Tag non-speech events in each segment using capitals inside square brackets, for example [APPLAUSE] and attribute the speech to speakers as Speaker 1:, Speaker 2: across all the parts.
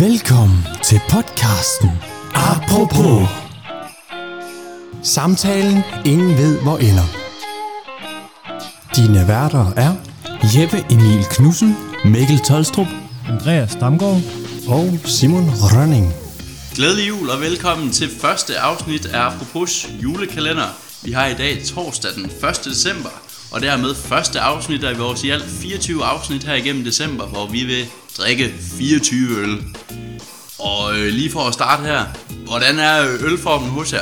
Speaker 1: Velkommen til podcasten Apropos. Samtalen ingen ved hvor ender. Dine værter er Jeppe Emil Knudsen
Speaker 2: Mikkel Tolstrup.
Speaker 3: Andreas Damgaard.
Speaker 1: og Simon Rønning.
Speaker 4: Glædelig jul og velkommen til første afsnit af Apropos julekalender. Vi har i dag torsdag den 1. december, og dermed første afsnit af vores i alt 24 afsnit her igennem december, hvor vi vil drikke 24 øl. Og øh, lige for at starte her, hvordan er øh, ølformen hos jer?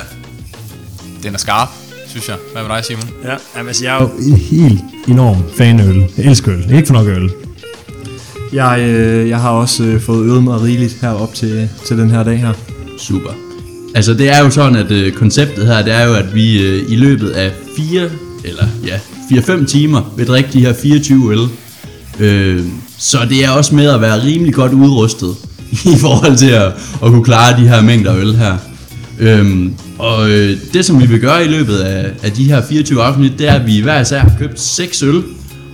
Speaker 2: Den er skarp, synes jeg. Hvad med dig, Simon?
Speaker 3: Ja, jamen, altså jeg er jo helt enorm fan af øl. Jeg elsker øl. Ikke for nok øl.
Speaker 5: Jeg, øh, jeg har også øh, fået øvet mig rigeligt herop til, til den her dag her.
Speaker 4: Super. Altså det er jo sådan, at øh, konceptet her, det er jo, at vi øh, i løbet af 4, eller ja, 4-5 timer vil drikke de her 24 øl. Øh, så det er også med at være rimelig godt udrustet [LAUGHS] i forhold til at, at kunne klare de her mængder øl her. Øhm, og øh, det som vi vil gøre i løbet af, af de her 24 afsnit, det er at vi hver især har købt 6 øl,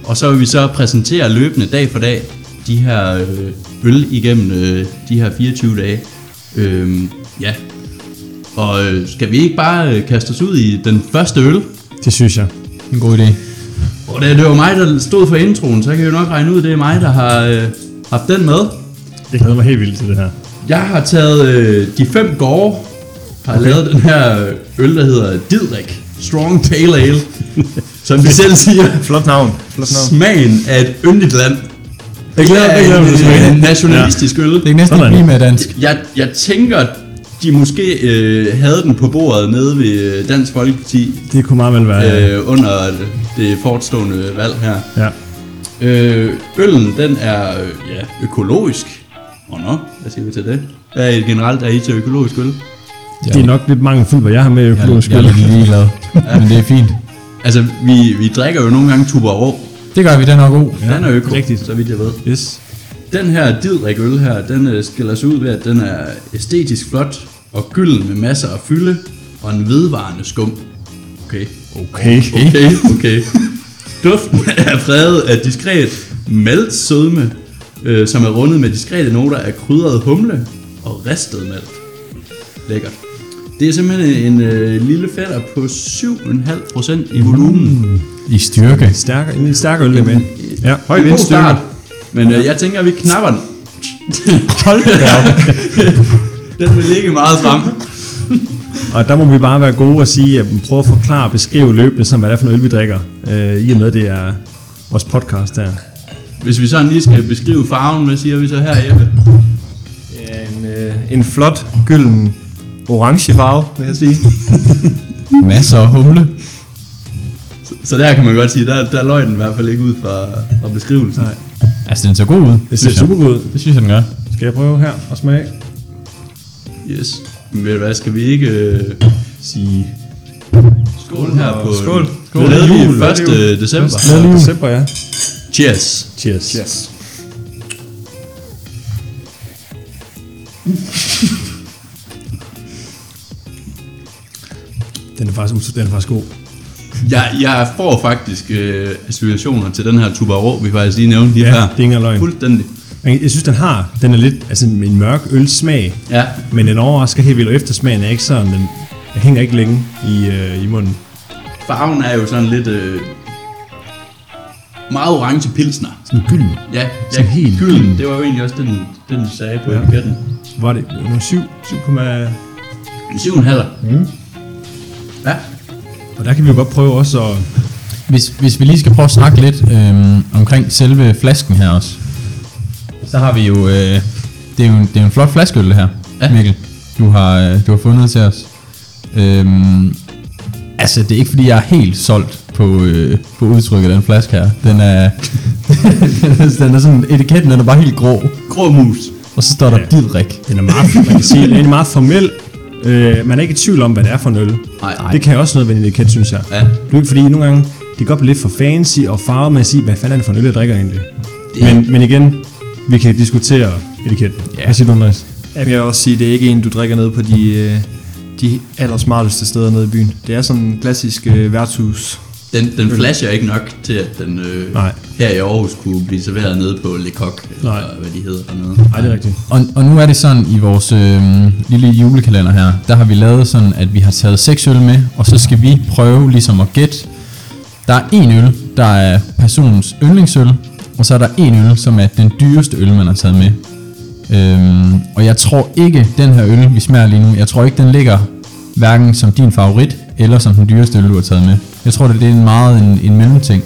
Speaker 4: og så vil vi så præsentere løbende dag for dag de her øh, øl igennem øh, de her 24 dage. Øhm, ja. Og øh, skal vi ikke bare øh, kaste os ud i den første øl?
Speaker 3: Det synes jeg. En god idé.
Speaker 4: Og da det var mig, der stod for introen, så kan jeg jo nok regne ud, det er mig, der har øh, haft den med.
Speaker 3: Jeg glæder mig helt vildt til det her.
Speaker 4: Jeg har taget øh, de fem gårde, har okay. lavet den her øl, der hedder Didrik Strong Pale
Speaker 3: [LAUGHS]
Speaker 4: Ale, som de selv siger,
Speaker 5: Flot navn. Flot navn.
Speaker 4: smagen af et yndigt land.
Speaker 3: Jeg glæder mig, jeg glæder mig til
Speaker 4: Det er en øh,
Speaker 3: smagen.
Speaker 4: nationalistisk øl.
Speaker 2: Det er næsten
Speaker 3: Sådan.
Speaker 2: ikke lige med dansk.
Speaker 4: Jeg, jeg tænker, de måske øh, havde den på bordet nede ved øh, Dansk Folkeparti
Speaker 3: Det kunne meget vel være. Øh.
Speaker 4: øh, under det forestående valg her.
Speaker 3: Ja.
Speaker 4: Øh, øllen, den er øh, ja, økologisk. Åh oh, nå, hvad siger vi til det? Hvad er I generelt er I til økologisk øl?
Speaker 3: Det er nok lidt mangelfuldt, hvad jeg har med økologisk
Speaker 2: Jeg
Speaker 3: øl.
Speaker 2: er lidt ligeglad. Men det er fint.
Speaker 4: Altså, vi, vi drikker jo nogle gange Tuborg.
Speaker 2: Det gør vi, den er god.
Speaker 4: Ja, den er øko,
Speaker 3: rigtigt.
Speaker 4: så vidt jeg ved.
Speaker 3: Yes.
Speaker 4: Den her Didrik øl her, den øh, skiller sig ud ved, at den er æstetisk flot og gylden med masser af fylde og en vedvarende skum. Okay.
Speaker 3: Okay.
Speaker 4: Okay, okay. Duften er fredet af diskret maltsødme, øh, som er rundet med diskrete noter af krydret humle og ristet malt. Lækkert. Det er simpelthen en øh, lille fætter på 7,5% i
Speaker 3: Mm.
Speaker 4: volumen.
Speaker 2: I styrke.
Speaker 3: Stærk, en stærk øl, det er med. Ja.
Speaker 4: Høj vindstyrke. Men øh, jeg tænker, at vi knapper den.
Speaker 3: [LAUGHS] Hold da op.
Speaker 4: [LAUGHS] Den vil ligge meget frem.
Speaker 3: Og der må vi bare være gode og sige, at prøve at forklare og beskrive løbende, som hvad det er for noget øl, vi drikker. Øh, I og med, det er vores podcast der.
Speaker 4: Hvis vi sådan lige skal beskrive farven, hvad siger vi så her, Jeppe?
Speaker 5: Ja, en, øh, en flot, gylden, orange farve, vil jeg sige.
Speaker 2: Masser af humle.
Speaker 4: Så der kan man godt sige, der, der løg den i hvert fald ikke ud fra, fra beskrivelsen. Nej.
Speaker 2: Altså, den ser god ud.
Speaker 3: Det ser
Speaker 2: synes jeg.
Speaker 3: super godt ud.
Speaker 2: Det synes jeg, den gør.
Speaker 3: Skal jeg prøve her og smage?
Speaker 4: Yes. Men ved du hvad, skal vi ikke øh, sige skål her på
Speaker 5: Skål.
Speaker 4: skål. glædelig 1. december.
Speaker 3: Med december, ja.
Speaker 4: Cheers.
Speaker 3: Cheers.
Speaker 5: Yes.
Speaker 3: [LAUGHS] Den er faktisk, ut- den er faktisk god.
Speaker 4: Jeg, jeg får faktisk øh, associationer til den her Tubarå, vi faktisk lige nævnte lige
Speaker 3: Ja,
Speaker 4: her.
Speaker 3: det er ikke engang løgn.
Speaker 4: Fuldstændig.
Speaker 3: Men Jeg synes, den har, den er lidt, altså en mørk ølsmag,
Speaker 4: Ja,
Speaker 3: men den overrasker helt vildt, og eftersmagen er ikke sådan, den den hænger ikke længe i, øh, i munden.
Speaker 4: farven er jo sådan lidt øh, meget orange pilsner.
Speaker 3: Sådan gylden.
Speaker 4: Ja, ja
Speaker 3: Sådan helt
Speaker 4: gylden.
Speaker 3: gylden.
Speaker 4: Det var jo egentlig også den, den de sagde på
Speaker 3: Ja.
Speaker 4: etiketten.
Speaker 3: Var det nummer 7, 7,
Speaker 4: Syv og en halv. Mm. Ja,
Speaker 3: og der kan vi jo godt prøve også at...
Speaker 2: Hvis, hvis vi lige skal prøve at snakke lidt øhm, omkring selve flasken her også. Så har vi jo... Øh, det, er jo en, det er jo en flot flaskeøl, det her,
Speaker 4: Ja.
Speaker 2: Mikkel. Du har, øh, du har fundet til os. Øhm, altså, det er ikke fordi, jeg er helt solgt på, øh, på udtrykket af den flaske her. Den er, [LAUGHS] den er sådan... Etiketten den er bare helt grå.
Speaker 4: grå mus.
Speaker 2: Og så står der
Speaker 3: Ja.
Speaker 2: ja. Didrik.
Speaker 3: Den er meget, man kan sige, den er meget formel. Øh, man er ikke i tvivl om, hvad det er for en øl.
Speaker 4: Nej,
Speaker 3: Det kan jeg også noget ved en etiket, synes jeg.
Speaker 4: Ja.
Speaker 3: Det er ikke fordi, nogle gange, det kan godt blive lidt for fancy og farvet med at sige, hvad fanden er det for en øl, jeg drikker egentlig? Men, men igen, vi kan diskutere etiketten.
Speaker 2: Ja.
Speaker 3: Hvad siger du, Andreas?
Speaker 5: Jamen, jeg vil også sige, det er ikke en, du drikker ned på de, øh, de allersmarteste steder nede i byen. Det er sådan en klassisk øh, værtshus.
Speaker 4: Den, den flasher ikke nok til, at den øh,
Speaker 3: Nej.
Speaker 4: her i Aarhus kunne blive serveret nede på Le Coq, eller
Speaker 3: Nej.
Speaker 4: hvad de hedder dernede.
Speaker 3: Nej, det er rigtigt.
Speaker 2: Og, og nu er det sådan, i vores øh, lille julekalender her, der har vi lavet sådan, at vi har taget seks øl med, og så skal vi prøve ligesom at gætte. Der er en øl, der er personens yndlingsøl, og så er der en øl, som er den dyreste øl, man har taget med. Øhm, og jeg tror ikke, den her øl, vi smager lige nu, jeg tror ikke, den ligger hverken som din favorit, eller som den dyreste øl, du har taget med. Jeg tror, det det er en meget en, en mellemting,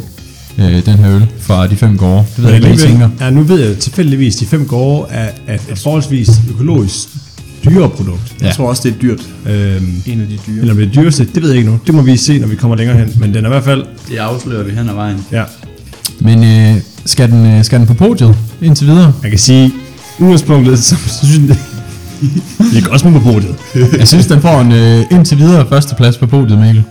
Speaker 2: øh, den her øl, fra de fem gårde. Det ved jeg ikke, hvad I tænker.
Speaker 3: ja, nu ved jeg tilfældigvis, at de fem gårde er, er et forholdsvis økologisk dyrere produkt.
Speaker 5: Jeg
Speaker 2: Ja.
Speaker 5: tror også, det er dyrt.
Speaker 3: Øhm,
Speaker 5: En af de dyre.
Speaker 3: eller om det er dyreste, det ved jeg ikke nu. Det må vi se, når vi kommer længere hen. Men den er i hvert fald...
Speaker 4: Det afslører vi hen ad vejen.
Speaker 3: Ja,
Speaker 2: Men øh, skal, den, øh, skal den på podiet indtil videre?
Speaker 3: man kan sige, udgangspunktet, så synes jeg, vi kan også med på podiet.
Speaker 2: Jeg synes, den får en øh, indtil videre førsteplads på podiet, Mikkel.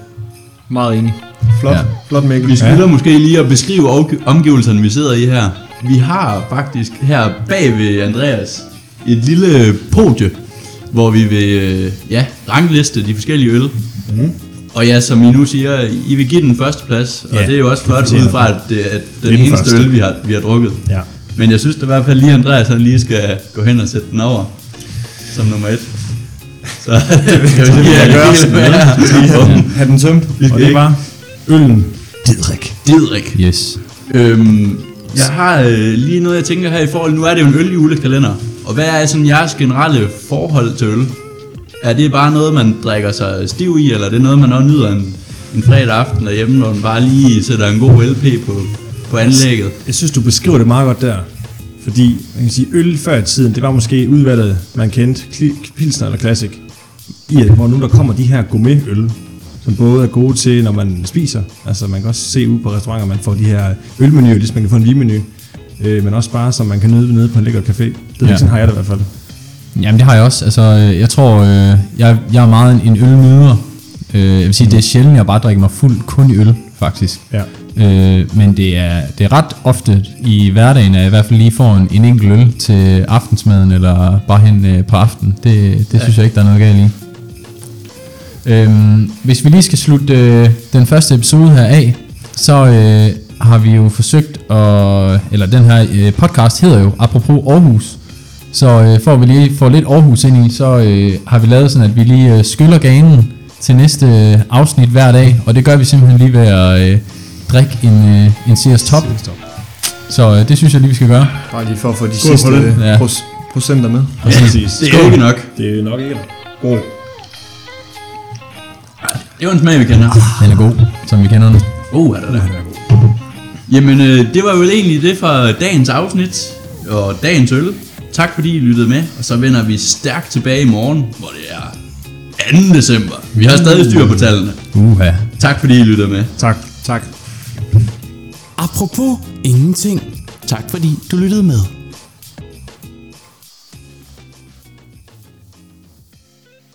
Speaker 5: Meget enig.
Speaker 2: Flot. Ja.
Speaker 5: Flot Mikkel.
Speaker 4: Vi skylder ja. måske lige at beskrive omg- omgivelserne, vi sidder i her. Vi har faktisk her bag ved Andreas et lille podie, hvor vi vil øh, ja, rangliste de forskellige øl. Mm. Og ja, som I nu siger, I vil give den første plads, og
Speaker 3: Ja,
Speaker 4: det er jo også flot
Speaker 3: fortjener
Speaker 4: ud fra, at, øh, at den,
Speaker 3: er den
Speaker 4: eneste
Speaker 3: første.
Speaker 4: øl, vi har, vi har drukket.
Speaker 3: Ja.
Speaker 4: Men jeg synes da i hvert fald lige, Andreas han lige skal gå hen og sætte den over som nummer et. Så det vil [LAUGHS] jeg
Speaker 3: gøre, som
Speaker 4: gøre. Ja.
Speaker 5: Har den tømt?
Speaker 3: Og det var øllen Didrik.
Speaker 4: [LAUGHS] Didrik.
Speaker 2: Yes.
Speaker 4: Øhm, jeg har øh, lige noget, jeg tænker her i forhold. Nu er det jo en øljulekalender. Og hvad er sådan jeres generelle forhold til øl? Er det bare noget, man drikker sig stiv i, eller er det noget, man også nyder en, en fredag aften derhjemme, når man bare lige sætter en god LP på, på anlægget?
Speaker 3: Jeg synes, du beskriver det meget godt der. Fordi, man kan sige, øl før i tiden, det var måske udvalget, man kendte, Kli- Pilsner eller Classic. I at hvor nu der kommer de her gourmetøl, som både er gode til, når man spiser. Altså, man kan også se ude på restauranter, man får de her ølmenuer, ligesom man kan få en vinmenu. Øh, men også bare, som man kan nyde nede på en lækker café. Det er
Speaker 2: Ja.
Speaker 3: ja. sådan har jeg det i hvert fald.
Speaker 2: Jamen, det har jeg også. Altså, øh, jeg tror, øh, jeg, jeg er meget en, en ølnyder. Øh, jeg vil sige, det er sjældent, jeg bare drikker mig fuld kun i øl, faktisk.
Speaker 3: Ja.
Speaker 2: Øh, men det er, det er ret ofte i hverdagen, at jeg i hvert fald lige får en, en enkelt øl til aftensmaden, eller bare hen øh, på aftenen. Det, det ja. synes jeg ikke, der er noget galt i. Øhm, hvis vi lige skal slutte øh, den første episode her af, så øh, har vi jo forsøgt at, eller den her øh, podcast hedder jo, apropos Aarhus, så øh, får vi lige får lidt Aarhus ind i, så øh, har vi lavet sådan, at vi lige øh, skyller ganen til næste øh, afsnit hver dag, og det gør vi simpelthen lige ved at øh, drikke en, øh, en Sears Top. Så øh, det synes jeg lige, vi skal gøre.
Speaker 5: Bare lige for at få de
Speaker 3: Skål
Speaker 5: sidste
Speaker 3: for den.
Speaker 5: øh,
Speaker 2: Ja.
Speaker 5: pros- procenter med.
Speaker 4: Ja,
Speaker 3: præcis.
Speaker 4: det er jo ikke nok.
Speaker 3: Det er nok ikke
Speaker 5: God.
Speaker 4: Det er jo en smag, vi kender.
Speaker 2: Den er god, som vi kender den.
Speaker 4: Oh, er der det? Jamen, øh, det var vel egentlig det for dagens afsnit og dagens øl. Tak fordi I lyttede med, og så vender vi stærkt tilbage i morgen, hvor det er 2. december. Vi har stadig styr på tallene.
Speaker 2: Uha.
Speaker 4: Tak fordi I lyttede med.
Speaker 3: Tak. Tak.
Speaker 1: Apropos ingenting. Tak fordi du lyttede med.